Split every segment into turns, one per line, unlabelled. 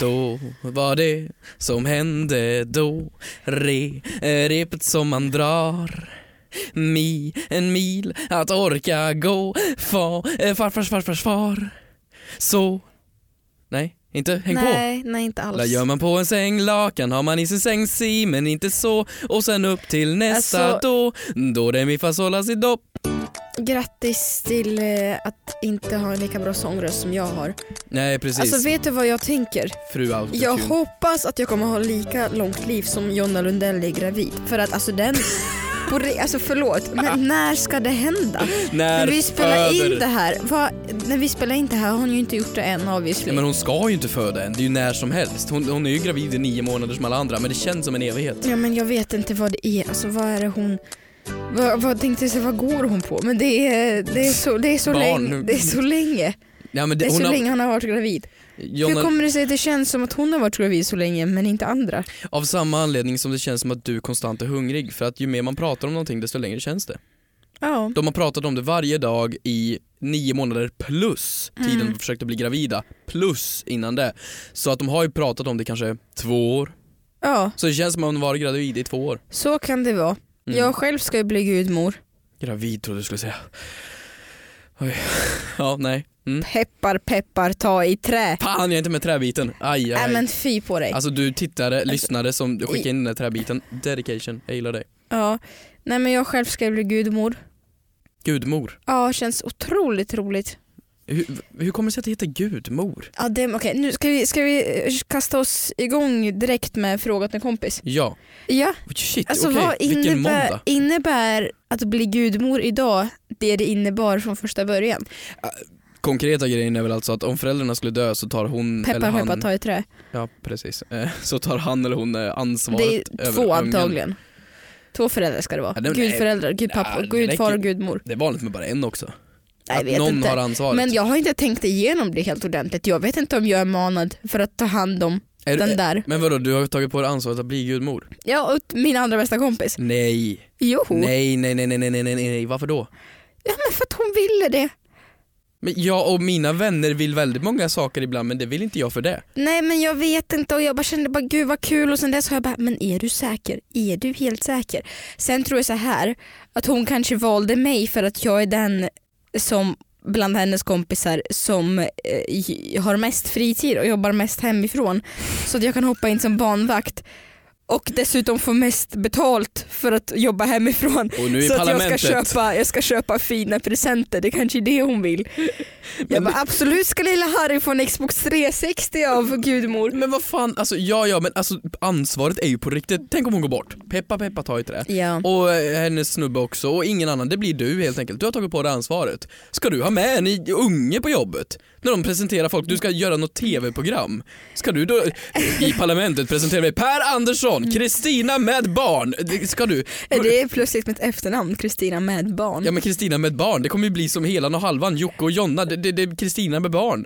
Då var det som hände då Re, eh, repet som man drar Mi, en mil att orka gå Fa, eh, farfars farfars far Så Nej, inte häng på
nej, nej, inte alls.
där gör man på en säng lakan har man i sin säng si men inte så och sen upp till nästa
Alltså-
då då det mi fa sol la si do
Grattis till eh, att inte ha en lika bra sångröst som jag har.
Nej precis,
Alltså vet du vad jag tänker?
fru autotune.
Jag hoppas att jag kommer ha lika långt liv som Jonna Lundell är gravid. För att alltså den... På re, alltså förlåt, men när ska det hända?
När
När vi spelar
föder-
in det här, vad, när vi spelar in det här har hon ju inte gjort det än obviously.
Nej, men hon ska ju inte föda än, det är ju när som helst. Hon, hon är ju gravid i nio månader som alla andra men det känns som en evighet.
Ja men jag vet inte vad det är, alltså vad är det hon... Vad, vad tänkte jag säga, vad går hon på? Men det är, det är, så, det är, så,
Barn.
länge, det är så länge.
Ja, men det,
Det är
hon
så
har,
länge hon har varit gravid. Hur
Jonna,
kommer det sig att det känns som att hon har varit gravid så länge men inte andra?
Av samma anledning som det känns som att du konstant är hungrig för att ju mer man pratar om någonting desto längre känns det.
Ja.
De har pratat om det varje dag i nio månader plus tiden
Mm.
de försökte bli gravida plus innan det. Så att de har ju pratat om det kanske två år.
Ja,
Så det känns som att hon varit gravid i två år.
så kan det vara.
Mm.
Jag själv ska ju bli gudmor.
Gravid trodde du skulle säga. Oj. Ja, nej. Mm.
Peppar peppar ta i trä.
Fan jag är inte med träbiten. Aj, aj,
Nej
aj.
men fy på dig.
Alltså du tittare, lyssnare som skickade in den där träbiten. Dedication, jag gillar dig.
Ja. Nej men jag själv ska ju bli gudmor.
Gudmor.
Ja, känns otroligt roligt.
Hur, hur kommer det sig att det heter gudmor?
Ja, det, okej, nu ska vi, ska vi eh, kasta oss igång direkt med fråga till en kompis.
Ja,
Ja,
shit
alltså
okej,
vad
vilken
innebär,
måndag.
innebär att bli gudmor idag det det innebar från första början?
Konkreta grejen är väl alltså att om föräldrarna skulle dö så tar hon eller
Peppar
han,
peppar ta i trä.
ja precis, Eh, så tar han eller hon eh, ansvaret
Det
över
är två
ungen.
antagligen. Två föräldrar ska det vara.
Ja, det-
Gudföräldrar, gudpappa,
nej, det
gudfar och
räcker-
gudmor.
Det är vanligt med bara en också.
Nej, jag
att
vet
någon
inte.
har ansvaret.
Men jag har inte tänkt igenom det helt ordentligt. Jag vet inte om jag är manad för att ta hand om
är du, eh,
den där.
men vadå, du har tagit på dig ansvaret att bli gudmor?
Ja, och min andra bästa kompis.
Nej,
Jo,
nej, nej, nej, nej, nej, nej, nej, nej, varför då?
ja, men för att hon ville det.
Men jag och mina vänner vill väldigt många saker ibland men det vill inte jag för det.
Nej men jag vet inte och jag bara kände bara gud vad kul och sen dess har jag bara men är du säker? Är du helt säker? Sen tror jag så här att hon kanske valde mig för att jag är den som bland hennes kompisar som eh, j- har mest fritid och jobbar mest hemifrån så att jag kan hoppa in som barnvakt och dessutom få mest betalt för att jobba hemifrån
Och nu i
så att jag ska,
parlamentet.
köpa, jag ska köpa fina presenter, det kanske är det hon vill. Jag bara absolut ska lilla Harry få en Xbox 360 av gudmor.
Men vad fan, alltså ja ja men alltså ansvaret är ju på riktigt. Tänk om hon går bort. Peppa peppa ta i trä.
Ja.
Och eh, hennes snubbe också och ingen annan, det blir du helt enkelt. Du har tagit på dig ansvaret. Ska du ha med en i- unge på jobbet? När de presenterar folk, du ska göra något tv-program. Ska du då i parlamentet presentera mig Per Andersson, Kristina med barn. Det- Ska du?
Eh, Det är plötsligt mitt efternamn, Kristina med barn.
Ja
Ja.
men Kristina med barn, det kommer ju bli som Helan och Halvan, Jocke och Jonna. Det, det, det är Kristina med barn.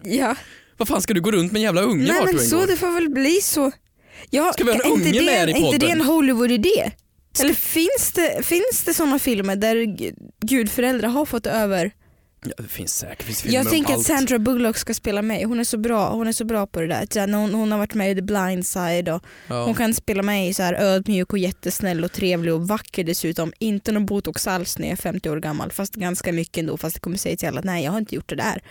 Vad fan ska du gå runt med en jävla unge
Nej
vart du
men
än
så
går?
det får väl bli så. Ja,
Ska vi ha en
är inte
unge
det-
med här i
Är inte det
podden?
en Hollywood-idé? Eller finns det, finns det sådana filmer där gu- gudföräldrar har fått över?
Ja, det finns säkert finns filmer
Jag tänker
om
att
allt.
Sandra Bullock ska spela med. Hon är så bra, hon är så bra på det där. Så här, när Hon, hon har varit med i The Blind Side och
Ja.
Hon kan spela mig i så här ödmjuk och jättesnäll och trevlig och vacker dessutom. Inte någon botox alls när jag är 50 år gammal. Fast ganska mycket ändå. Fast det kommer säga till alla att nej jag har inte gjort det där.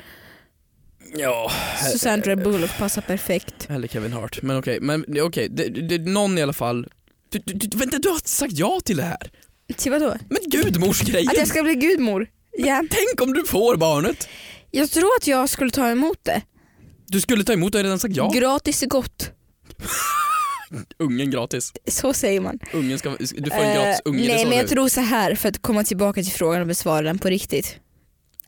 ja.
Så Sandra Bullock passar perfekt.
Eller Kevin Hart, men okej, men okej, det, det, någon i alla fall. Du, du, du, vänta, du har sagt ja till det här?
Till vadå?
Men gudmorsgrejen!
Att jag ska bli gudmor? Ja.
Tänk om du får barnet!
Jag tror att jag skulle ta emot det.
Du skulle ta emot, du har redan sagt ja.
Gratis är gott.
Ungen gratis.
Så säger man.
Ungen ska, du får en gratis
Eh,
unge, det
nej
sa
men jag
du.
tror så här för att komma tillbaka till frågan och besvara den på riktigt.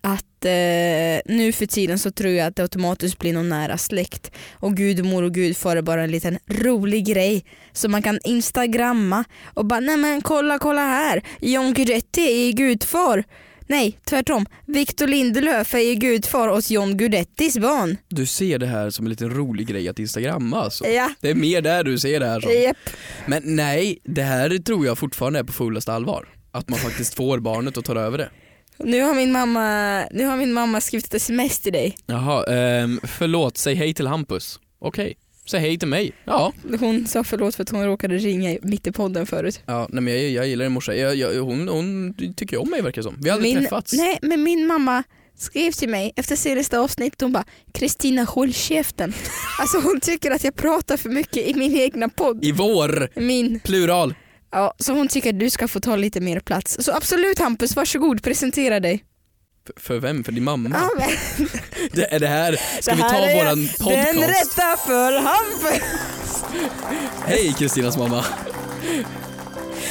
Att eh, nu för tiden så tror jag att det automatiskt blir någon nära släkt och gudmor och gudfar är bara en liten rolig grej som man kan instagramma och bara nej men kolla kolla här John Guidetti är gudfar. Nej tvärtom, Victor Lindelöf är ju gudfar åt John Guidettis barn.
Du ser det här som en liten rolig grej att instagramma alltså.
Ja,
Det är mer där du ser det här som.
japp.
Men nej, det här tror jag fortfarande är på fullaste allvar. Att man faktiskt får barnet och tar över det.
Nu har min mamma, nu har min mamma skrivit ett sms till dig.
Jaha, ehm, förlåt, säg hej till Hampus. Okej. Säg hej till mig. Ja.
Hon sa förlåt för att hon råkade ringa mitt i podden förut.
ja nej, men jag, jag gillar din morsa. Jag, jag, hon, hon tycker ju om mig verkar det som. Vi har aldrig
min,
träffats.
Nej, men min mamma skrev till mig efter senaste avsnittet. Hon bara “Kristina håll käften”. alltså hon tycker att jag pratar för mycket i min egna podd.
I vår!
Min.
Plural.
Ja, så hon tycker att du ska få ta lite mer plats. Så absolut Hampus, varsågod presentera dig.
F- för vem? För din mamma?
Ja, men,
Det, är det här, ska
det
vi ta
här är
våran
Den
podcast?
rätta för Hampus.
Hej Kristinas mamma.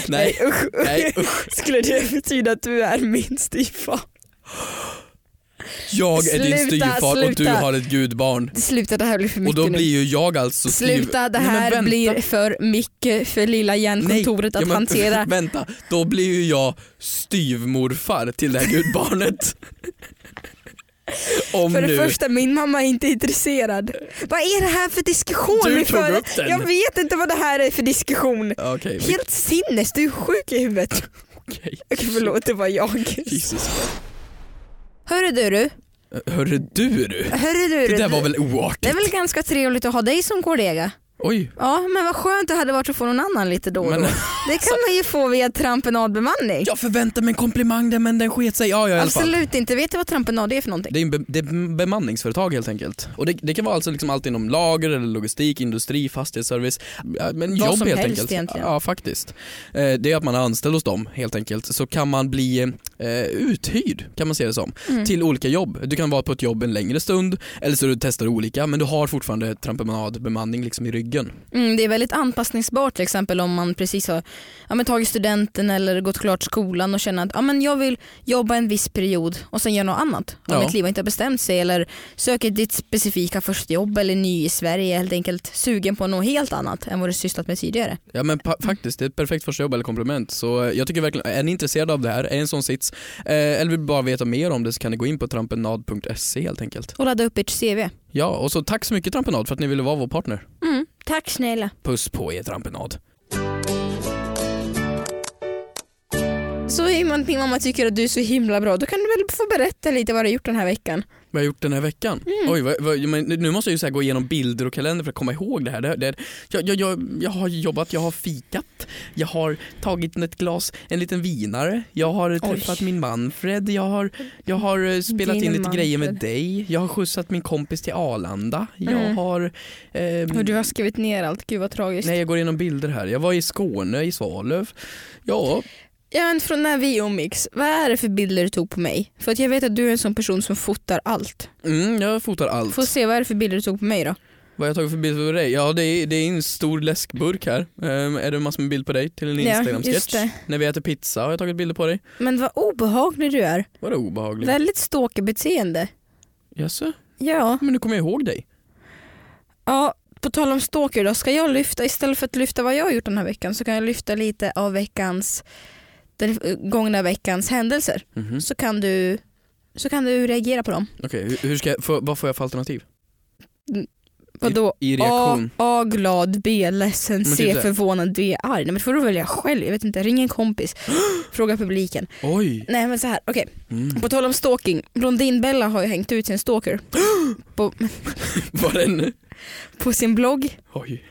Nej,
usch.
nej usch.
Skulle det betyda att du är min styvfar?
Jag är din
Sluta,
styvfar och du
sluta.
har ett gudbarn.
Sluta, det här blir för mycket
Och då
nu.
blir ju jag alltså styv...
Sluta, det
Nej, men
här
vänta.
blir för mycket för lilla hjärnkontoret
Ja,
att
men
hantera.
Vänta, då blir ju jag styvmorfar till det här gudbarnet. Om
För det
nu.
första, min mamma är inte intresserad. Vad är det här för diskussion?
Du
vi
tog
för?
upp den.
Jag vet inte vad det här är för diskussion.
Okej, okay,
Helt sinnes, du är sjuk i huvudet.
okej.
Okej, förlåt, det var jag.
Jesus.
Hörru du, du.
Hörru du du.
Hörru du,
Det
du.
där var väl
Det är
oartigt?
väl ganska trevligt att ha dig som kollega.
Oj.
Ja, men vad skönt det hade varit att få någon annan lite då och
Men,
då. Det kan man ju få via trampenadbemanning.
jag förväntade mig en komplimang där men den sket sig. Ja, ja, i alla fall.
Absolut inte. Vet du vad trampenad är för någonting?
Det är, en be- det är ett bemanningsföretag helt enkelt. Och det, det kan vara alltså liksom allt inom lager, eller logistik, industri, fastighetsservice. Ja, Men
Vad
jobb
som
helt
helst
enkelt.
egentligen.
Ja faktiskt. Eh, Det är att man är anställd hos dem helt enkelt. Så kan man bli eh, uthyrd kan man se det som.
Mm.
Till olika jobb. Du kan vara på ett jobb en längre stund eller så du testar olika men du har fortfarande trampemanadbemanning liksom i ryggen.
Mm, det är väldigt anpassningsbart till exempel om man precis har ja, men tagit studenten eller gått klart skolan och känner att ja, men jag vill jobba en viss period och sen göra något annat. Om
Ja.
mitt liv inte har bestämt sig eller söker ditt specifika första jobb eller är ny i Sverige helt enkelt sugen på något helt annat än vad du sysslat med tidigare.
Ja men pa- faktiskt, det är ett perfekt första jobb eller komplement. Så eh, jag tycker verkligen, är ni intresserade av det här, är en sån sits, eh, eller vill bara veta mer om det så kan ni gå in på trampenad.se helt enkelt.
Och ladda upp ert CV.
Ja, och så tack så mycket Trampenad för att ni ville vara vår partner.
Mm, tack snälla.
Puss på er Trampenad.
Så i och med att min mamma tycker att du är så himla bra då kan du väl få berätta lite vad du har gjort den här veckan.
Vad har jag gjort den här veckan?
Mm.
Oj, vad, vad, men nu måste jag ju så här gå igenom bilder och kalender för att komma ihåg det här. Det, här- det, här- jag, jag, jag, jag har jobbat, jag har fikat, jag har tagit ett glas, en liten vinare, jag har träffat min Manfred, jag har, jag har eh, spelat
Din
in lite
Manfred.
grejer med dig, jag har skjutsat min kompis till Arlanda, jag
Mm.
har... ehm,
Och du har skrivit ner allt, gud vad tragiskt.
Nej jag går igenom bilder här. Jag var i Skåne, i Svalöv. Ja,
Ja men från när vi umgicks, vad är det för bilder du tog på mig? För att jag vet att du är en sån person som fotar allt.
mm, jag fotar allt.
Få se vad är det för bilder du tog på mig då?
Vad har jag tagit för bild på dig? Ja det är, det är en stor läskburk här. Ehm, är det massor med bild på dig till en
just
Instagram-sketch?
det.
När vi äter pizza har jag tagit bilder på dig.
Men vad obehaglig du är.
Var det obehagligt?
Väldigt stalkerbeteende.
Jaså?
Ja.
Men nu kommer jag ihåg dig.
ja, på tal om stalker då, ska jag lyfta, istället för att lyfta vad jag har gjort den här veckan så kan jag lyfta lite av veckans, den eh, gångna veckans händelser.
Mhm.
Så kan du, så kan du reagera på dem.
Okej, hur, hur ska jag, får- vad får jag för alternativ?
Vadå?
I reaktion?
A, A glad, B ledsen,
Men typ
C
det.
förvånad, D arg. Nej, men det får du välja själv. Jag vet inte, ring en kompis. Fråga publiken.
Oj!
Nej men så här, okej.
Mm.
På tal om stalking. Blondinbella har ju hängt ut sin stalker
Var den...
på sin blogg.
Oj.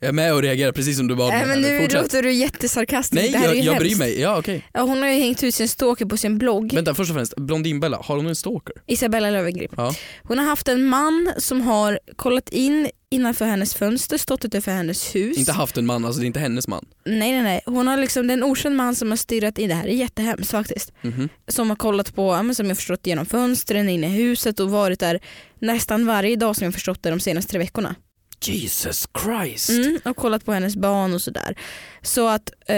Jag är med och reagerar precis som du bad mig.
Nej men
här.
nu
Fortsätt.
låter du jättesarkastisk.
Nej
det här är
jag,
ju
jag
hemskt.
bryr mig. Ja okej.
Ja, hon har ju hängt ut sin stalker på sin blogg.
Vänta först och främst, Blondinbella, har hon en stalker?
Isabella Löwengrip.
Ja.
Hon har haft en man som har kollat in innanför hennes fönster, stått utanför hennes hus.
Inte haft en man, alltså det är inte hennes man.
Nej nej nej. Hon har liksom, det är en okänd man som har stirrat in. Det här är jättehemskt faktiskt.
Mhm.
som har kollat på, ja, men som jag förstått genom fönstren inne i huset och varit där nästan varje dag som jag förstått det de senaste tre veckorna.
Jesus Christ!
Mm, och kollat på hennes barn och sådär. Så att eh,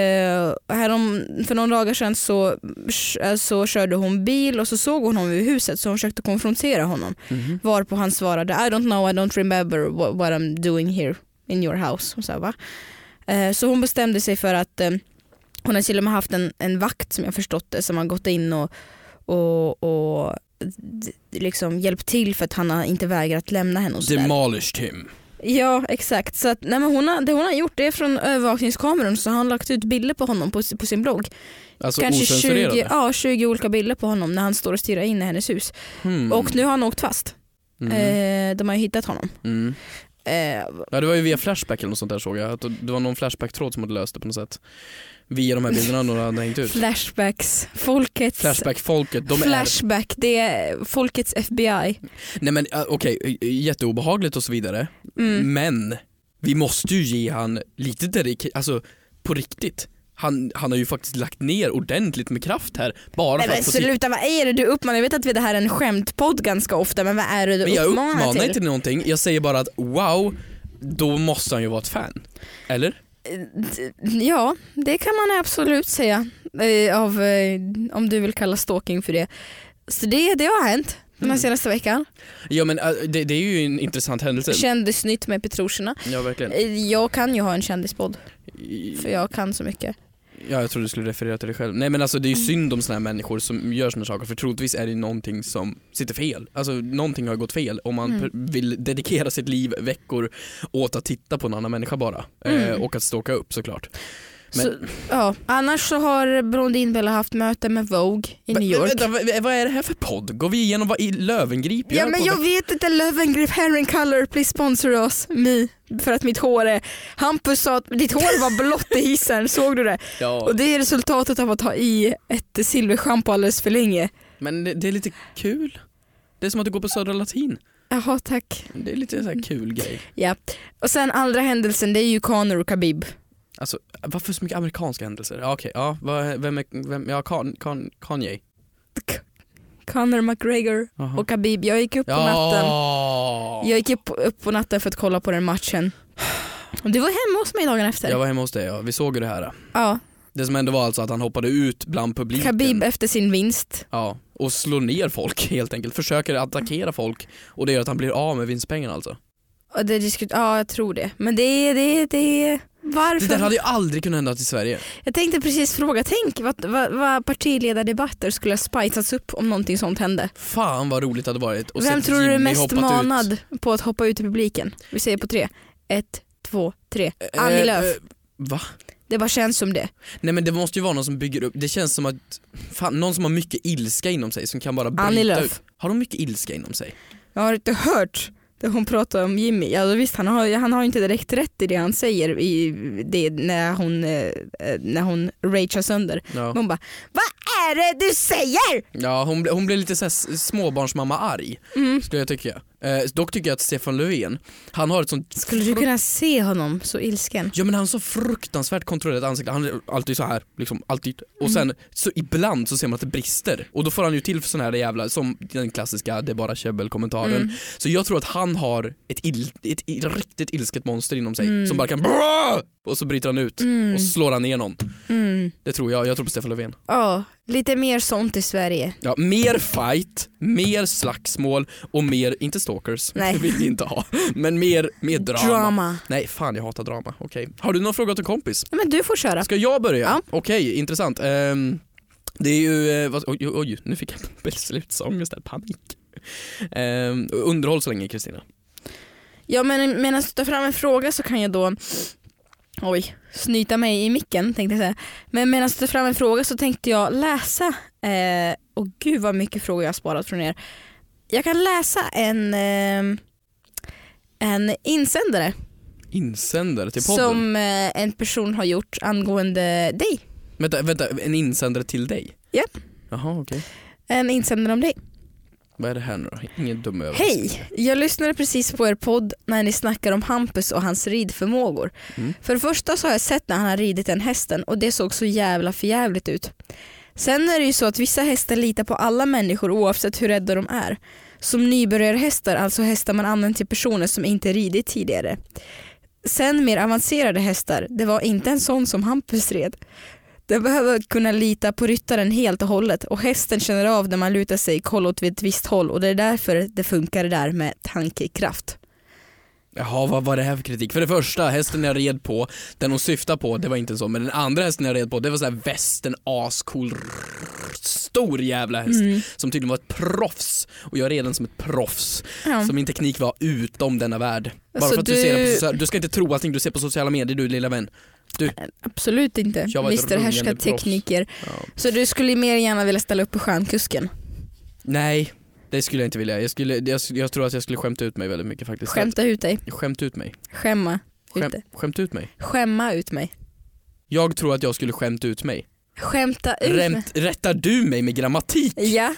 härom, för några dagar sedan så, så körde hon bil och så såg hon honom i huset så hon försökte konfrontera honom.
Mhm.
Varpå han svarade I don't know, I don't remember what, what I'm doing here in your house. Och så, här, va? Eh, så hon bestämde sig för att eh, hon har till och med haft en, en vakt som jag förstått det som har gått in och, och, och d- liksom hjälpt till för att han har inte vägrat lämna henne. Och så där.
Demolished him.
Ja exakt, så att, nej, men hon har, det hon har gjort det är från övervakningskameran så har han lagt ut bilder på honom på, si- på sin blogg.
Alltså
Kanske 20,
ocensurerade.
ja, 20 olika bilder på honom när han står och stirrar in i hennes hus.
Hmm.
Och nu har han åkt fast.
Mm.
Eh, de har ju hittat honom.
Mm.
Eh,
Ja det var ju via Flashback eller något sånt där såg jag. Att det var någon Flashback-tråd som hade löst det på något sätt. Via de här bilderna några hade hängt ut.
flashbacks, folkets...
Flashback-folket, de är
flashback, det är folkets FBI.
Nej men äh, okej, äh, jätteobehagligt och så vidare.
Mm.
Men vi måste ju ge han lite dedik, alltså på riktigt. Han, han har ju faktiskt lagt ner ordentligt med kraft här bara
Nej,
för
men
att få sitt...
sluta, vad är det du uppmanar? Jag vet att vi- det här är en skämtpodd ganska ofta men vad är det du
Men jag
uppmanar
uppmanar
till?
inte till någonting, jag säger bara att wow, då måste han ju vara ett fan. Eller?
Ja, det kan man absolut säga. Eh, Av, eh, om du vill kalla stalking för det. Så det, det har hänt
Mm.
den här senaste veckan.
Ja men äh, det, det är ju en intressant händelse.
Kändisnytt med Petrosina.
Ja verkligen.
Eh, Jag kan ju ha en kändispodd
I-
för jag kan så mycket.
Ja, jag trodde du skulle referera till dig själv. Nej men alltså det är ju
Mm.
synd om såna här människor som gör såna saker för troligtvis är det någonting som sitter fel. Alltså någonting har gått fel om man
Mm.
pr- vill dedikera sitt liv veckor åt att titta på en annan människa bara.
Mm.
Eh, och att stalka upp såklart. Men-
Så, ja. Annars så har Brondin Bella haft möte med Vogue i New York.
Vänta, vad- vad är det här för podd? Går vi igenom vad i Lövengrip
Ja
gör
men
på
jag
veck-
vet inte, Löwengrip Hair and Color, please sponsor us, me. För att mitt hår är... Hampus sa att ditt hår var blått i hissen, såg du det?
ja,
Och det är resultatet av att ha i ett silverschampo alldeles för länge.
Men det, det är lite kul. Det är som att du går på Södra Latin.
Jaha tack.
Det är lite en sån
Mm.
här kul grej.
Ja. Och sen andra händelsen det är ju Conor och Khabib.
Alltså varför så mycket amerikanska händelser? Ja, Okej, ja, vad, vem är, vem, ja kan, kan, Kanye.
Conor McGregor
Aha.
och Khabib. Jag gick upp på natten.
Ja.
Jag gick upp, upp på natten för att kolla på den matchen. Och Du var hemma hos mig dagen efter.
Jag var hemma hos dig ja, vi såg ju det här.
Ja,
Det som hände var alltså att han hoppade ut bland publiken.
Khabib efter sin vinst.
Ja, och slår ner folk helt enkelt. Försöker attackera folk och det gör att han blir av med vinstpengarna alltså.
Och det diskut- ja, jag tror det. Men det är... Det, det, varför?
Det där hade ju aldrig kunnat hända i Sverige.
Jag tänkte precis fråga, tänk vad, vad, vad partiledardebatter skulle ha spicats upp om någonting sånt hände.
Fan vad roligt det hade varit. att
Vem
se
tror du är
Jimmy
mest
hoppat ut.
manad på att hoppa ut i publiken? Vi säger på tre. Ett, två, tre. Annie
Eh,
Lööf.
eh, Va?
Det bara känns som det.
Nej men det måste ju vara någon som bygger upp, det känns som att, fan, någon som har mycket ilska inom sig som kan bara bryta
Annie
ut.
Lööf.
Har de mycket ilska inom sig?
Jag har inte hört det hon pratar om Jimmy. Ja, då visst, han har, han har inte direkt rätt i det han säger i det, när hon, eh, när hon ragear sönder.
Ja,
Men Hon bara Vad är det du säger?
ja hon, ble- hon blev lite så här s- småbarnsmamma-arg.
Mm.
skulle jag tycka. Eh, dock tycker jag att Stefan Löfven, han har ett sånt...
Skulle du kunna se honom så ilsken?
Ja men han har så fruktansvärt kontrollerat ansikte, han är alltid så här, liksom, alltid.
Mm.
Och sen, så ibland så ser man att det brister. Och då får han ju till för sån här jävla, som den klassiska det är bara käbbel-kommentaren.
Mm.
Så jag tror att han har ett, ill, ett, i- riktigt ilsket monster inom sig
Mm.
som bara kan "Bra!" och så bryter han ut
Mm.
och slår han ner någon.
Mm.
Det tror jag, jag tror på Stefan Löfven.
Ja, lite mer sånt i Sverige.
Ja, mer fight, mer slagsmål och mer, inte stalkers,
Nej.
det vill vi inte ha. Men mer, mer
Drama.
Nej, fan jag hatar drama. Okej. Har du någon fråga till kompis?
Ja, men du får köra.
Ska jag börja?
Ja.
Okej, intressant. Ehm, det är ju, eh, vad, oj, oj, oj, nu fick jag beslutsångest där, panik. Um, underhåll så länge Kristina.
Ja men medan du tar fram en fråga så kan jag då Oj, snyta mig i micken tänkte jag säga. Men medan du tar fram en fråga så tänkte jag läsa, eh, och gud vad mycket frågor jag har sparat från er. Jag kan läsa en, eh, en insändare
Insändare till podden.
som eh, en person har gjort angående dig.
Vänta, vänta, en insändare till dig?
Ja.
Jaha, okej.
En insändare om dig.
Vad är det här nu då? Ingen dum över.
Hej! Jag lyssnade precis på er podd när ni snackar om Hampus och hans ridförmågor.
Mm.
För det första så har jag sett när han har ridit den hästen och det såg så jävla förjävligt ut. Sen är det ju så att vissa hästar litar på alla människor oavsett hur rädda de är. Som nybörjarhästar, alltså hästar man använt till personer som inte ridit tidigare. Sen mer avancerade hästar, det var inte en sån som Hampus red. Den behöver kunna lita på ryttaren helt och hållet och hästen känner av när man lutar sig koll åt ett visst håll och det är därför det funkar det där med tankekraft.
Jaha, vad var det här för kritik? För det första, hästen jag red på, den hon syftar på, det var inte så, men den andra hästen jag red på, det var sån här västern ascool rrrr, stor jävla häst
Mm.
som tydligen var ett proffs och jag red den som ett proffs.
Ja.
Så min teknik var utom denna värld. Bara
Så
för att du... ser det på
du-
sociala, du ska inte tro allting du ser på sociala medier du lilla vän.
Absolut inte.
Jag var ett
Mr
rungande
Härska tekniker.
Ja.
Så du skulle mer gärna vilja ställa upp på stjärnkusken?
Nej, Det skulle jag inte vilja. Jag, skulle, jag, jag tror att jag skulle skämta ut mig väldigt mycket faktiskt.
Skämta ut dig.
Skämt ut mig.
Skämma ut
Skäm,
dig.
skämt ut mig.
Skämma ut mig.
Jag tror att jag skulle skämta ut mig.
Skämta ut mig.
Rämt, rättar du mig med grammatik?
Ja.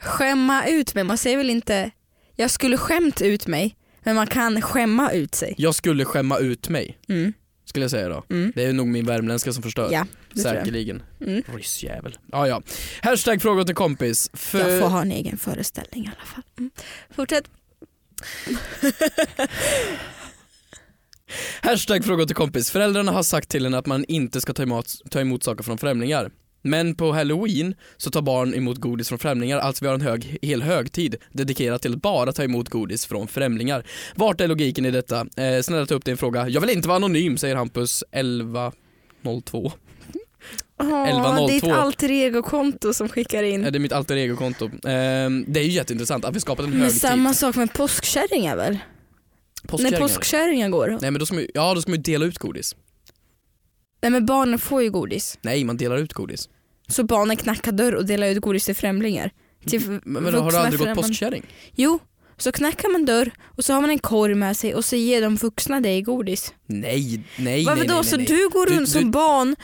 Skämma ut mig. Man säger väl inte jag skulle skämt ut mig. Men man kan skämma ut sig.
Jag skulle skämma ut mig,
Mm.
skulle jag säga då.
Mm.
Det är nog min värmländska som förstör.
Ja, det tror jag.
Säkerligen.
Mm.
Ryssjävel. Ja, ja. Hashtag frågor till kompis.
Jag får
För...
ha en egen föreställning i alla fall. Mm. Fortsätt.
Hashtag frågor till kompis. Föräldrarna har sagt till henne att man inte ska ta emot, ta emot saker från främlingar. Men på halloween så tar barn emot godis från främlingar, alltså vi har en hög, hel högtid dedikerad till att bara ta emot godis från främlingar. Vart är logiken i detta? Eh, snälla ta upp din fråga. Jag vill inte vara anonym, säger Hampus 1102.
Åh,
11.02.
ditt alter ego-konto som skickar in.
Eh, det är mitt alter ego-konto. Eh, det är ju jätteintressant att vi skapat en
Men
högtid.
samma sak med påskkärringar väl? När
Påskkärringar.
påskkärringar går.
Nej men då ska, man, ju- ja, då ska man ju dela ut godis.
Nej men barnen får ju godis.
Nej, man delar ut godis.
Så barnen knackar dörr och delar ut godis till främlingar. Till
Mm. Men, men har du aldrig gått
främmande-
påskkärring?
Jo, så knackar man dörr och så har man en korg med sig och så ger de vuxna dig godis.
Nej, nej,
Varför
nej,
då?
nej,
så
nej.
du går
Du-
runt
du-
som barn,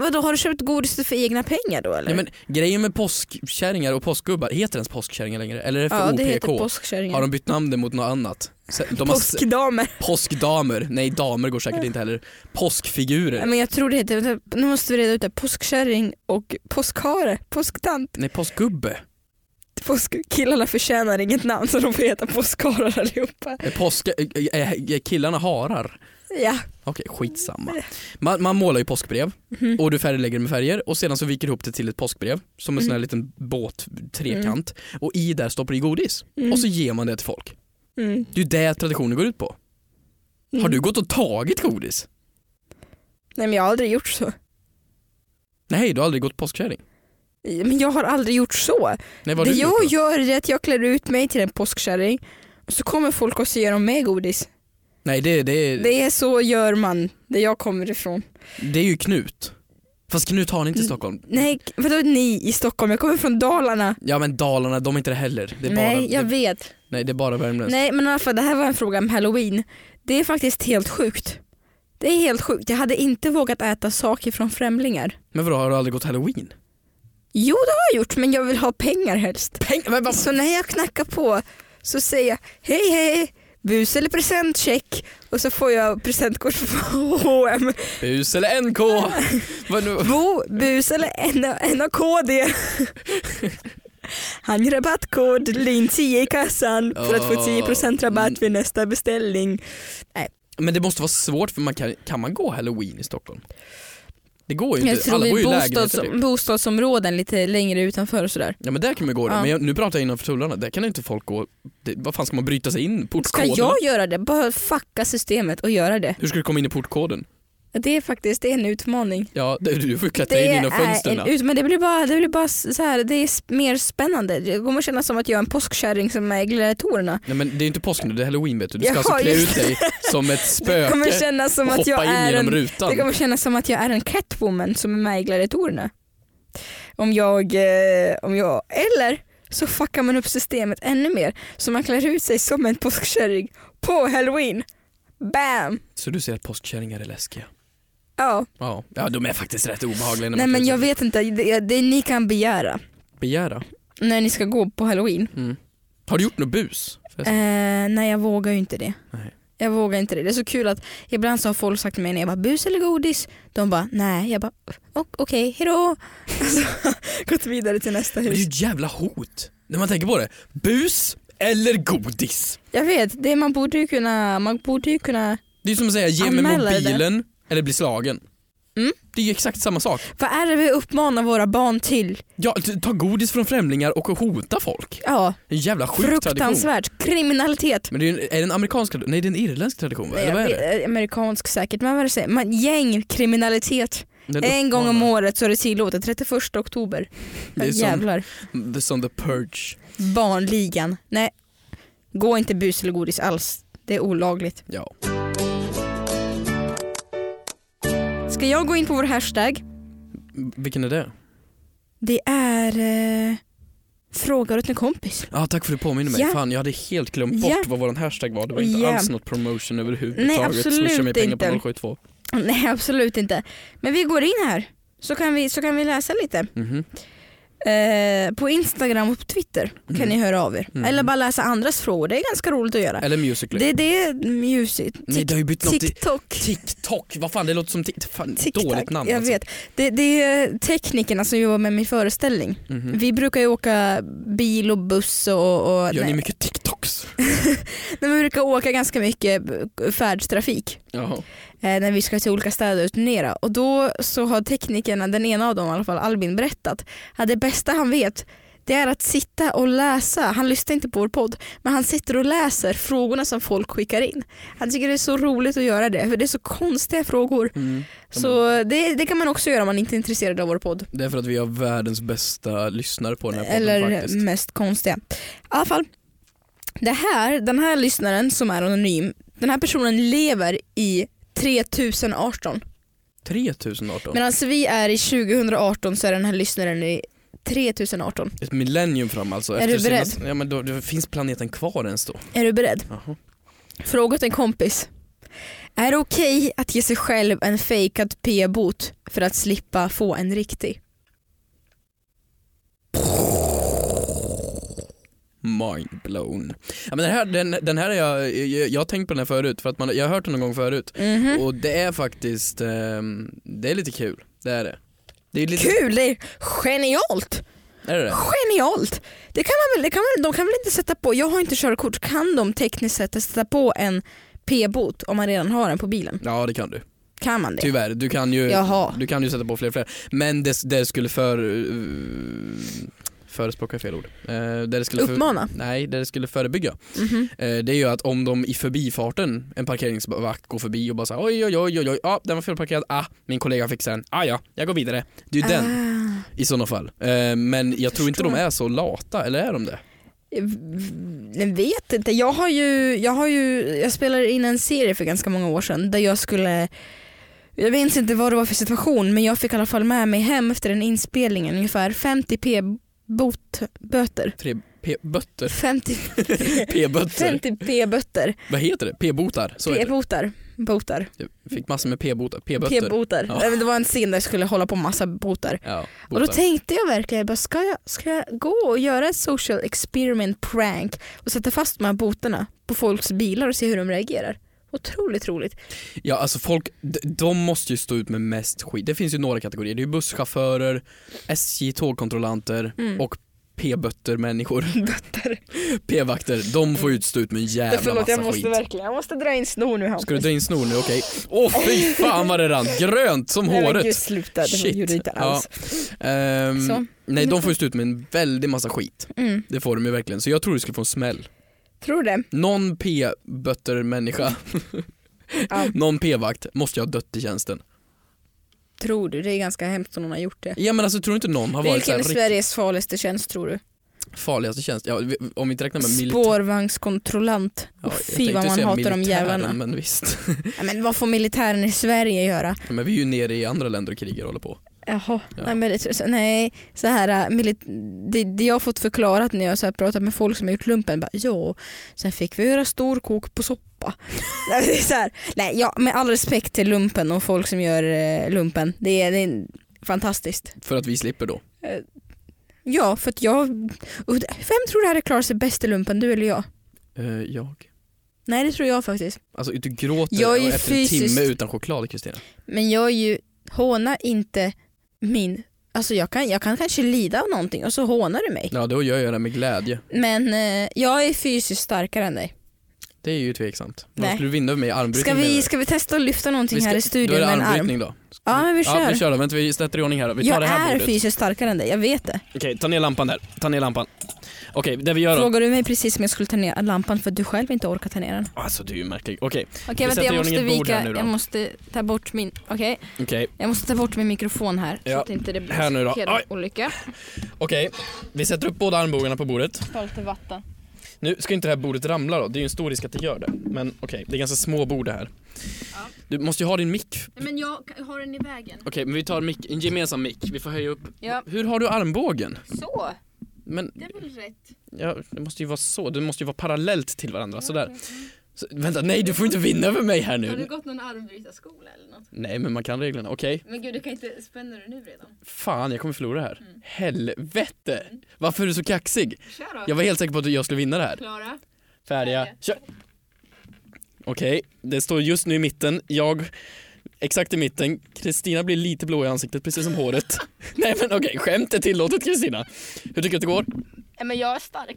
vadå har du köpt godis för egna pengar då eller?
Nej, men grejen med påskkärringar och påskgubbar, heter det ens påskkärringar längre? Eller är det för
ja
OPK?
det heter
har
påskkärringar.
de bytt namn mot något annat? Se- De har s-
Påskdamer.
påskdamer, nej damer går säkert inte heller.
Nej,
Påskfigurer,
men jag tror det heter, nu måste vi reda ut det, påskkärring och påskhare, påsktant.
nej påskgubbe,
Påskkillarna förtjänar inget namn så de får heta påskharar allihopa.
Är påska, är- är är killarna harar?
Ja.
Okej, skitsamma. Man, man målar ju påskbrev
Mhm.
och du färglägger det med färger och sedan så viker du ihop det till ett påskbrev som en sån här
Mhm.
liten båt, trekant och i där stoppar du i godis
Mm.
och så ger man det till folk.
Mm.
Det är ju det traditionen går ut på. Har
Mm.
du gått och tagit godis?
Nej men jag har aldrig gjort så.
Nej, du har aldrig gått påskkärring.
Men jag har aldrig gjort så.
Nej, vad har
det
du gjort
jag
då?
gör är att jag klär ut mig till en påskkärring och så kommer folk och så ger dem mig godis.
Nej det, det, det,
Det är så gör man, där jag kommer ifrån.
det är ju Knut. Fast Knut har ni inte i
Mm.
Stockholm.
Nej, vadå ni i Stockholm? Jag kommer från Dalarna.
Ja men Dalarna, de är inte det heller. Det är
nej,
bara,
jag
det,
vet.
nej det är bara värmländskt.
Nej, men i alla fall det här var en fråga om halloween. Det är faktiskt helt sjukt. Det är helt sjukt. Jag hade inte vågat äta saker från främlingar.
Men vadå, har du aldrig gått halloween?
Jo, det har jag gjort, men jag vill ha pengar helst.
Peng, men vad,
Så när jag knackar på så säger jag hej hej, bus eller presentcheck och så får jag presentkort från H&M.
bus eller NK? vad nu?
Bo, bus eller N- NAKD. Han ger rabattkod lin 10 i kassan för att få 10% rabatt vid nästa beställning.
Men det måste vara svårt för man kan, kan man gå halloween i Stockholm? Det går ju
Jag
inte,
tror
alla bor ju
i
i lägenheter typ.
bostads- bostadsområden lite längre utanför och sådär.
Ja men där kan man gå det,
Ja.
men jag, nu pratar jag innanför tullarna, där kan inte folk gå, det, vad fan ska man bryta sig in?
Ska
Portkoden?
jag göra det? Bara fucka systemet och göra det.
Hur ska du komma in i portkoden?
Det är faktiskt det är en utmaning.
Ja, det- du får ju klättra
Det
in genom
är
fönstren.
en ut, men det blir bara, det blir bara så här, det är s- mer spännande. Det kommer kännas som att jag är en påskkärring som är i gladiatorerna.
Nej men det är inte påsk nu, det är halloween vet du. Du ska
Jaha,
alltså klä ut
just
dig som ett
Det kommer
spöke
kännas
och
som att
hoppa
jag
in
är
genom
en Det
rutan.
kommer kännas som att jag är en catwoman som är med i gladiatorerna. Om jag, eh, om jag, eller så fuckar man upp systemet ännu mer så man klär ut sig som en påskkärring på halloween. Bam!
Så du ser att påskkärringar är läskiga?
Ja,
Ja, ja de är faktiskt rätt obehagliga när
nej
man
men
klär
jag
sig.
vet inte, det, det ni kan begära
Begära?
när ni ska gå på halloween.
Mm. Har du gjort något bus?
Eh, nej jag vågar ju inte det.
Nej.
Jag vågar inte det. Det är så kul att ibland så har folk sagt till mig när jag bara bus eller godis. De bara nej. Jag bara "O- okej, hejdå. Så, gått vidare till nästa
Det är
hus.
ju ett jävla hot när man tänker på det. Bus eller godis?
Jag vet, det man borde ju kunna, man borde ju kunna...
Det är som att säga ge mig
Anmäla det.
mobilen eller bli slagen.
Mm.
Det är ju exakt samma sak.
Vad är det vi uppmanar våra barn till?
Ja, t- ta godis från främlingar och hota folk.
Ja,
En jävla sjuk tradition.
fruktansvärt. Kriminalitet.
Men det är, ju en, är det en amerikansk tradition? Nej det är en irländsk tradition va?
Nej,
Eller vad är
jag
det?
vet- eh, Amerikansk säkert, men vad är det säger? Man, gängkriminalitet.
Den
En gång om
uppmanar-
året så är det tillåtet, 31 oktober.
Det är som
Jävlar.
Det är som The Purge.
Barnligan. Nej, gå inte bus eller godis alls. Det är olagligt.
Ja.
Ska jag gå in på vår hashtag?
Vilken är det?
Det är eh, frågar åt en kompis.
Ja, ah, tack för att du påminner mig.
Ja.
Fan, jag hade helt glömt bort
Ja.
vad vår hashtag var. Det var inte
Ja.
alls något promotion överhuvudtaget.
Nej, absolut
Swisha mig pengar
inte.
på 072.
Nej absolut inte. Men vi går in här så kan vi, så kan vi läsa lite.
Mhm.
Eh, på Instagram och på Twitter kan
Mm.
ni höra av er.
Mm.
Eller bara läsa andras frågor, det är ganska roligt att göra.
Eller Musical.ly.
Det, det är music.
Nej, det har ju bytt något i
TikTok.
TikTok. Vad fan, det låter som TikTok. Fan,
TikTok.
dåligt namn alltså.
jag vet. Det, det är teknikerna som jobbar med min föreställning.
Alltså. Mhm.
Vi brukar ju åka bil och buss och, och
Gör ni
nej.
mycket TikToks?
Nej, men vi brukar åka ganska mycket eh, färdstrafik.
Jaha.
eh, när vi ska till olika städer och turnera. Och då så har teknikerna, den ena av dem i alla fall, Albin berättat att det bästa han vet det är att sitta och läsa, han lyssnar inte på vår podd, men han sitter och läser frågorna som folk skickar in. Han tycker det är så roligt att göra det, för det är så konstiga frågor.
Mm.
Så det, det kan man också göra om man inte är intresserad av vår podd.
Det är för att vi har världens bästa lyssnare på den här podden
Eller
faktiskt.
mest konstiga. I alla fall, det här, den här lyssnaren som är anonym, den här personen lever i 3018.
3018.
Medan vi är i 2018 så är den här lyssnaren i 3018.
Ett millennium fram alltså.
Är du beredd?
Sina, ja, men då, då finns planeten kvar ens då?
Är du beredd?
Jaha.
Fråga åt en kompis. Är det okej att ge sig själv en fejkad p-bot för att slippa få en riktig?
Mind blown. Ja, men den, här, den, den här är jag, jag, jag har tänkt på den här förut för att man, jag har hört den någon gång förut
Mhm.
och det är faktiskt, ehm, det är lite kul. Det är det. Det är lite,
Kul! Det är genialt!
Är det det?
Genialt! Det kan man väl, det kan man, de kan väl inte sätta på, jag har inte körkort, kan de tekniskt sett sätta på en p-bot om man redan har en på bilen?
Ja det kan du.
Kan man det?
Tyvärr, du kan ju,
Jaha.
du kan ju sätta på fler och fler. Men det, det skulle för... Uh, förespråka är fel ord. Eh, det det skulle för,
Uppmana?
nej, det det skulle förebygga
Mhm.
Eh, Det är ju att om de i förbifarten, en parkeringsvakt går förbi och bara säger oj oj oj oj oj, ah, den var felparkerad, ah, min kollega fixar den, ah ja, jag går vidare. Det är ju den
Ah.
i sådana fall. Eh, Men jag tror inte de
Förstår.
är så lata, eller är de det?
Jag vet inte. Jag har ju, jag har ju, jag spelade in en serie för ganska många år sedan där jag skulle, jag minns inte vad det var för situation men jag fick i alla fall med mig hem efter den inspelningen ungefär 50 p-bot, böter.
Tre P-bötter?
50,
P-bötter?
50 p-bötter,
Vad heter det? P-botar? Så heter
p-botar, botar,
det. Jag Fick massor med P-botar. P-bötter.
p-botar.
Ja.
Nej, men Det var en scen där jag skulle hålla på massa botar.
Ja,
Och då
botar.
tänkte jag verkligen, jag bara, ska, jag, ska jag gå och göra ett social experiment prank och sätta fast de här botarna på folks bilar och se hur de reagerar? Otroligt roligt.
Ja alltså folk, d- de måste ju stå ut med mest skit. Det finns ju några kategorier, det är ju busschaufförer, SJ tågkontrollanter
Mm.
och P-bötter människor.
Bötter.
P-vakter, de får ju stå ut med en jävla
Förlåt,
massa
jag måste
skit.
verkligen, jag måste dra in snor nu Hampus.
Ska du dra in snor nu? Okej. Åh fy fan vad det rann, grönt som
Nej, men
håret.
gud sluta, det
Shit.
gjorde det inte alls.
Ehm,
Så.
nej de får ju stå ut med en väldig massa skit.
Mm.
Det får de ju verkligen. Så jag tror du skulle få en smäll.
Tror det.
Någon P-bötter-människa,
Ja,
någon P-vakt måste ju ha dött i tjänsten.
tror du, det är ganska hemskt om någon har gjort det.
Ja men alltså tror du inte någon har varit
Vilken
såhär
är Sveriges farligaste tjänst tror du?
farligaste tjänst? Ja, vi- om vi inte räknar med militär.
Spårvagnskontrollant.
Ja,
Och
jag
fy
tänkte
vad man
säga
hatar de
militären,
jävlarna.
Men visst.
Ja, men vad får militären i Sverige göra?
men vi är ju nere i andra länder och krigar och håller på.
Jaha,
Ja.
nej, men det, så- nej så här, äh, milit- det, det jag har fått förklarat när jag så här pratat med folk som har gjort lumpen, bara, ja, sen fick vi göra storkok på soppa. nej, men det är så här, nej, ja, med all respekt till lumpen och folk som gör eh, lumpen, det är, det är fantastiskt.
För att vi slipper då.
Ja, för att jag, och det- vem tror du hade klarat sig bäst i lumpen, du eller jag?
Eh, jag.
Nej det tror jag faktiskt.
Alltså du gråter
Jag är ju
efter en
fysiskt-
timme utan choklad Kristina.
Men jag är ju, håna inte min, alltså jag kan, jag kan kanske lida av någonting och så hånar du mig.
Ja då gör jag det med glädje.
Men eh, jag är fysiskt starkare än dig.
Det är ju tveksamt. Vad
Nej.
skulle du vinna över mig i armbrytning?
Ska
menar du?
vi, ska vi testa att lyfta någonting
Vi ska-
här
Då
i
är
studion
det
med en arm?
armbrytning då.
Ja men vi
Ja,
kör.
vi kör då. Vänta vi sätter i ordning här då. Vi tar
jag
det här
är
bordet.
fysiskt starkare än dig, jag vet det.
Okej, ta ner lampan där. Ta ner lampan. Okej, det vi gör då.
Frågar du mig precis om jag skulle ta ner lampan för att du själv inte orkar ta ner den?
Alltså du är ju märklig. Okej,
Okej
sätter
vänta jag
i ordning
måste
ett bord här
vika,
nu då.
jag måste ta bort min, okej.
okej,
Jag måste ta bort min mikrofon här
Ja,
så att inte det blir
här nu då.
hela
Oj.
olycka.
okej. Vi sätter upp båda armbågarna på bordet.
Ta lite vatten.
Nu ska inte det här bordet ramla då. Det är ju en stor risk att det gör det. Men okej, det är ganska små bord det här. Du måste ju ha din mick. Okej,
Nej men jag har den i vägen.
men vi tar mick, en gemensam mick. Vi får höja upp.
Ja.
Hur har du armbågen?
Så!
Men
Det är väl rätt?
ja, det måste ju vara så, det måste ju vara parallellt till varandra sådär. Så, vänta, nej du får inte vinna över mig
Har
här
du
nu.
gått någon armbrytarskola eller något?
Nej men man kan reglerna, okej.
Men gud, du kan inte spänna dig nu redan.
Fan, jag kommer förlora här. Helvete! Varför är du så kaxig?
Kör då!
Jag var helt säker på att jag skulle vinna det här.
Klara?
Färdiga,
Färdiga.
kör! Okej, det står just nu i mitten. Jag, exakt i mitten. Kristina blir lite blå i ansiktet, precis som håret. Nej men okej, skämt är tillåtet Kristina. Hur tycker du att det går?
Nej, men jag är stark.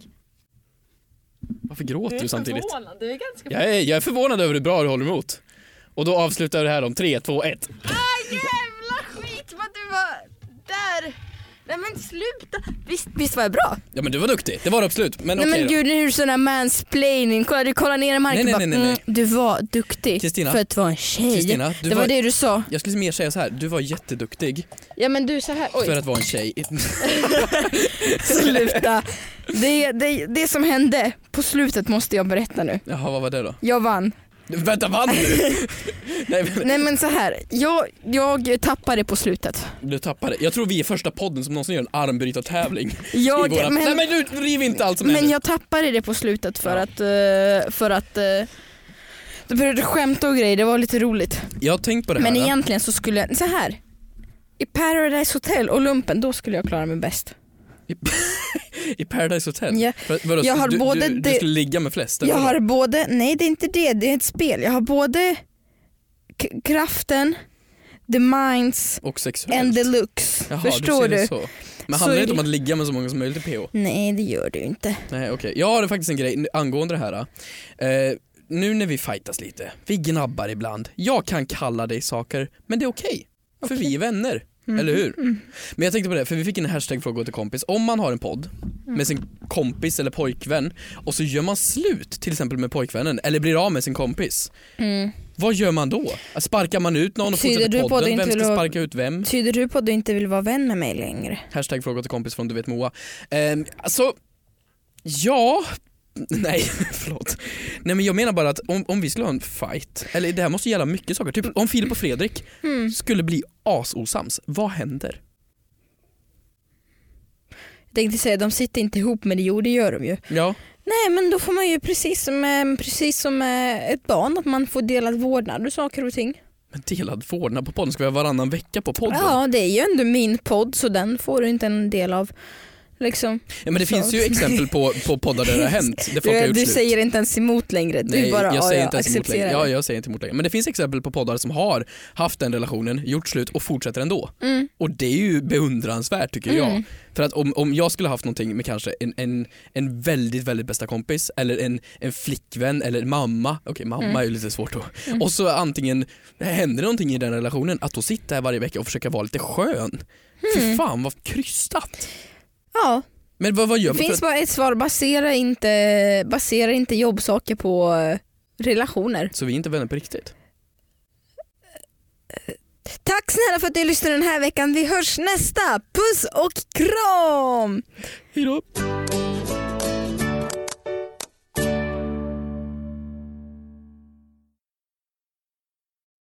Varför gråter du samtidigt?
förvånad, du är ganska...
Jag är, jag är förvånad över hur bra du håller emot. Och då avslutar vi det här om tre, två, ett.
Ah, jävla skit vad du var där! Nej men sluta!
Visst, visst var jag bra?
Ja men du var duktig, det var det absolut. Men
nej
okej
men
då.
gud nu är du sån här mansplaining. Kolla, du kollar ner i marken
Nej, nej,
och
nej, nej, nej.
Mm, Du var duktig
Kristina.
för att vara en tjej.
Kristina, du
det var
var-
det du sa.
Jag skulle mer säga så här. du var jätteduktig
Ja men du så här. oj.
för att vara en tjej.
Sluta. Det, det, det som hände på slutet måste jag berätta nu.
Jaha, vad var det då?
Jag vann.
Du, Vänta, vann du? Nej men
Nej men så här. jag, jag tappade på slutet.
du tappade. Jag tror vi är första podden som någonsin gör en armbrytartävling.
Jag,
i våra... Nej
men,
men du riv inte allt som
men
händer.
jag tappade det på slutet för
Ja.
att, eh, för att eh, det började skämta och grejer, det var lite roligt.
Jag har tänkt på det här.
Men egentligen så skulle jag, så här. I Paradise Hotel och lumpen, då skulle jag klara mig bäst.
I Paradise Hotel.
Ja.
För, vadå,
Jag har
du,
både
du, du
det-
skulle ligga med flest? eller
Jag
vadå?
har både, nej det är inte det, det är ett spel. Jag har både k- kraften, the minds
Och sexuellt?
and the looks.
Jaha,
Förstår
du?
du?
Ser det så. Men
Så
handlar det
är
inte om
det-
att ligga med så många som möjligt i PH?
Nej det gör du inte.
Nej, okej. Jag har faktiskt en grej angående det här. Eh, nu när vi fightas lite, vi gnabbar ibland. Jag kan kalla dig saker, men det är okej. För vi är vänner,
Mm,
eller hur? Men jag tänkte på det, för vi fick en hashtag fråga till kompis. Om man har en podd
Mm.
med sin kompis eller pojkvän och så gör man slut till exempel med pojkvännen eller blir av med sin kompis. Vad gör man då? Sparkar man ut någon och
Tyder du
fortsätter
på det
podden?
inte
Vem ska
vill ha-
sparka ut vem?
Tyder du på att du inte vill vara vän med mig längre?
Hashtag fråga till kompis från du vet Moa. Ehm, alltså, ja. Nej, förlåt. Nej men jag menar bara att om, om vi skulle ha en fight, eller det här måste gälla mycket saker, typ om Filip och Fredrik
Mm.
skulle bli asosams, vad händer?
Jag tänkte säga, de sitter inte ihop men det- jo det gör de ju.
Ja,
Nej men då får man ju precis som, eh, precis som eh, ett barn, att man får delad vårdnad och saker och ting.
men delad vårdnad på podden, ska vi ha varannan vecka på podden? Ja,
Ja det är ju ändå min podd så den får du inte en del av. Liksom.
men det
så.
finns ju exempel på, på poddar där det har hänt, där folk har
Du,
gjort
du
slut.
säger inte ens emot längre, du
Nej,
bara
jag
ja,
säger
ja,
inte ens emot längre.
accepterar
Ja,
det.
jag säger inte emot längre. Men det finns exempel på poddar som har haft den relationen, gjort slut och fortsätter ändå.
Mm.
Och det är ju beundransvärt tycker jag.
Mm.
För att om, om jag skulle haft någonting med kanske en, en, en väldigt, väldigt bästa kompis eller en, en flickvän eller mamma, okej mamma
Mm.
är ju lite svårt då. Och så antingen händer någonting i den relationen, att då sitta här varje vecka och försöka vara lite skön. Fy
Mm.
fan vad krystat.
Ja,
Men vad, vad gör
det
man? för
finns
att-
bara ett svar, basera inte, basera inte jobbsaker på eh, relationer.
Så vi är inte vänner på riktigt?
Tack snälla för att ni lyssnade den här veckan, vi hörs nästa! Puss och kram!
Hejdå!